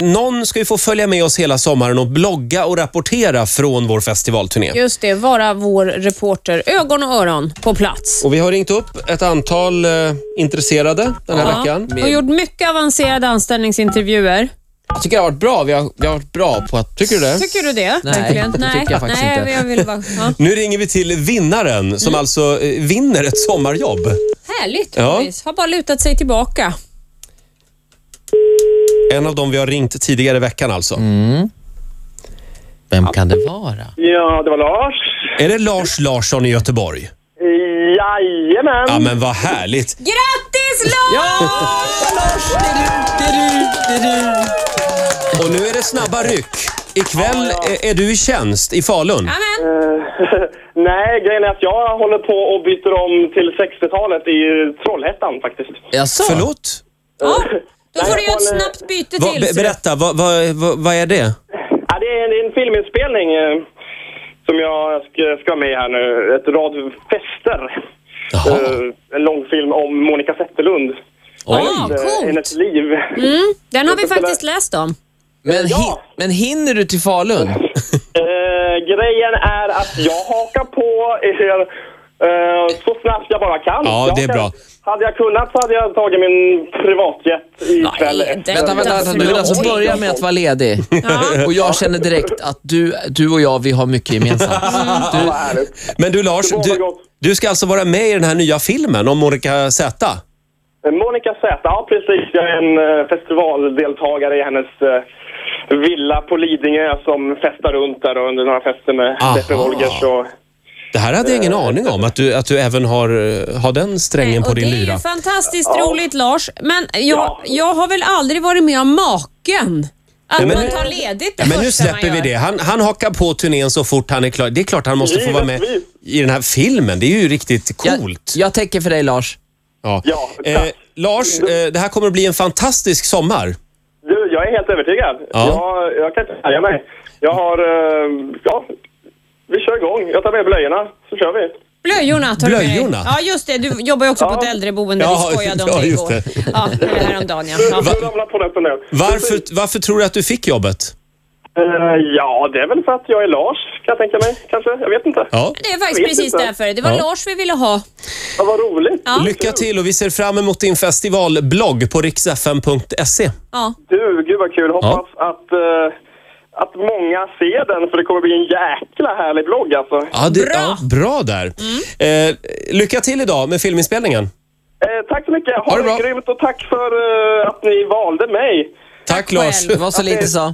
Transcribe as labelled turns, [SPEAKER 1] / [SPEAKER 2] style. [SPEAKER 1] Någon ska ju få följa med oss hela sommaren och blogga och rapportera från vår festivalturné.
[SPEAKER 2] Just det, vara vår reporter. Ögon och öron på plats.
[SPEAKER 1] Och vi har ringt upp ett antal eh, intresserade den här
[SPEAKER 2] Ja.
[SPEAKER 1] veckan.
[SPEAKER 2] Och gjort mycket avancerade anställningsintervjuer.
[SPEAKER 3] Jag tycker det har varit bra. Vi har, vi har varit bra på att...
[SPEAKER 1] Tycker du det?
[SPEAKER 2] Tycker du det?
[SPEAKER 3] Nej,
[SPEAKER 2] verkligen?
[SPEAKER 3] det tycker jag faktiskt
[SPEAKER 2] nej,
[SPEAKER 3] inte.
[SPEAKER 2] Jag vill bara, ja.
[SPEAKER 1] Nu ringer vi till vinnaren som alltså eh, vinner ett sommarjobb.
[SPEAKER 2] Härligt
[SPEAKER 1] Ja.
[SPEAKER 2] Louise. Har bara lutat sig tillbaka.
[SPEAKER 1] En av dem vi har ringt tidigare i veckan alltså.
[SPEAKER 3] Vem kan det vara?
[SPEAKER 4] Ja, det var Lars.
[SPEAKER 1] Är det Lars Larsson i Göteborg?
[SPEAKER 4] Jajamän!
[SPEAKER 1] Ja men vad härligt.
[SPEAKER 2] Grattis Lars!
[SPEAKER 1] Och nu är det snabba ryck. Ikväll eh, är du i tjänst i Falun.
[SPEAKER 2] Amen.
[SPEAKER 4] Nej, grejen är att jag håller på och byter om till 60-talet i Trollhättan faktiskt.
[SPEAKER 3] Jaså?
[SPEAKER 1] Förlåt?
[SPEAKER 2] Ja, då får du göra ett
[SPEAKER 4] håller-
[SPEAKER 2] snabbt byte
[SPEAKER 1] Va,
[SPEAKER 2] till.
[SPEAKER 1] be,
[SPEAKER 2] ser du.
[SPEAKER 1] berätta, vad va, va, vad är det?
[SPEAKER 4] Ja, det är en, en filminspelning eh, som jag ska, ska med här nu. Ett rad fester.
[SPEAKER 1] Jaha.
[SPEAKER 4] Eh, en långfilm om Monica Zetterlund.
[SPEAKER 2] Ja,
[SPEAKER 4] Eh,
[SPEAKER 2] coolt.
[SPEAKER 4] Hennes liv.
[SPEAKER 1] Mm.
[SPEAKER 2] Mm, Den har vi faktiskt läst om.
[SPEAKER 3] Men,
[SPEAKER 4] Ja.
[SPEAKER 3] hin- men hinner du till Falun?
[SPEAKER 4] Eh, grejen är att jag hakar på er eh, så snabbt jag bara kan.
[SPEAKER 1] Ja,
[SPEAKER 4] jag
[SPEAKER 1] det är
[SPEAKER 4] kan-
[SPEAKER 1] bra.
[SPEAKER 4] Hade jag kunnat så hade jag tagit min privatjet ikväll.
[SPEAKER 2] Nej, inte.
[SPEAKER 3] Vänta, vänta, vänta. Du vill alltså
[SPEAKER 2] Oj.
[SPEAKER 3] börja med att vara ledig
[SPEAKER 2] Ja.
[SPEAKER 3] och jag känner direkt att du, du och jag, vi har mycket gemensamt. Du,
[SPEAKER 4] Vad härligt.
[SPEAKER 1] Men du Lars,
[SPEAKER 4] Det var
[SPEAKER 1] du,
[SPEAKER 4] gott.
[SPEAKER 1] du ska alltså vara med i den här nya filmen om Monica Z.
[SPEAKER 4] Eh, Monica Z, ja precis. Jag är en eh, festivaldeltagare i hennes eh, villa på Lidingö som festar runt där och under några fester med
[SPEAKER 1] Aha.
[SPEAKER 4] Deppe Wolgers och...
[SPEAKER 1] Det här hade jag
[SPEAKER 4] Eh.
[SPEAKER 1] ingen aning om, att du, att du även har, eh, har den strängen på
[SPEAKER 2] Och
[SPEAKER 1] din
[SPEAKER 2] det är ju
[SPEAKER 1] lyra.
[SPEAKER 2] fantastiskt roligt Lars, men jag,
[SPEAKER 4] Ja.
[SPEAKER 2] jag har väl aldrig varit med om maken. Att
[SPEAKER 1] Nej, men
[SPEAKER 2] man
[SPEAKER 1] nu-
[SPEAKER 2] tar ledigt det
[SPEAKER 1] Men nu
[SPEAKER 2] första
[SPEAKER 1] släpper
[SPEAKER 2] man
[SPEAKER 1] vi
[SPEAKER 2] gör.
[SPEAKER 1] det. Han, han hakar på turnén så fort han är klar. Det är klart han måste få vara med
[SPEAKER 4] Givetvis.
[SPEAKER 1] i den här filmen. Det är ju riktigt
[SPEAKER 3] jag,
[SPEAKER 1] coolt.
[SPEAKER 3] jag täcker för dig Lars.
[SPEAKER 1] Ja.
[SPEAKER 4] Ja,
[SPEAKER 1] eh,
[SPEAKER 4] tack.
[SPEAKER 1] Lars, eh, det här kommer att bli en fantastisk sommar.
[SPEAKER 4] Du, jag är helt övertygad.
[SPEAKER 1] Ja.
[SPEAKER 4] Jag, jag kan inte värja mig. Jag har... eh, ja, vi kör igång. Jag tar med blöjorna, så kör vi.
[SPEAKER 2] Blöjorna tar du med
[SPEAKER 1] Blöjorna?
[SPEAKER 2] dig. Ja, just det. Du jobbar ju också på ett äldreboende.
[SPEAKER 1] Ja,
[SPEAKER 2] vi skojade om
[SPEAKER 1] ja,
[SPEAKER 2] det
[SPEAKER 1] just
[SPEAKER 2] igår.
[SPEAKER 1] det.
[SPEAKER 2] Ja, eller häromdagen ja. ja.
[SPEAKER 4] Nu ramlar polletten ner.
[SPEAKER 1] Varför, varför tror du att du fick jobbet?
[SPEAKER 4] Eh, ja, det är väl för att jag är Lars, kan jag tänka mig. Kanske. Jag vet inte.
[SPEAKER 1] Ja.
[SPEAKER 2] Det är faktiskt
[SPEAKER 4] Jag vet
[SPEAKER 2] precis
[SPEAKER 4] inte.
[SPEAKER 2] därför. Det var
[SPEAKER 1] Ja.
[SPEAKER 2] Lars vi ville ha.
[SPEAKER 4] Ja, vad roligt.
[SPEAKER 2] Ja.
[SPEAKER 1] Lycka till och vi ser fram emot din festivalblogg på riksfm.se.
[SPEAKER 2] Ja.
[SPEAKER 4] Du, gud vad kul. Hoppas att, eh, att många ser den, för det kommer bli en jäkla härlig vlogg alltså.
[SPEAKER 1] Ja, det,
[SPEAKER 2] Bra. Mm.
[SPEAKER 1] Ja, bra där. Eh, lycka till idag med filminspelningen.
[SPEAKER 4] Eh, tack så mycket. Ha,
[SPEAKER 1] det
[SPEAKER 4] det
[SPEAKER 1] bra.
[SPEAKER 4] grymt och tack för eh, att ni valde mig.
[SPEAKER 1] Tack, Lars.
[SPEAKER 2] själv.
[SPEAKER 3] Det var så lite så.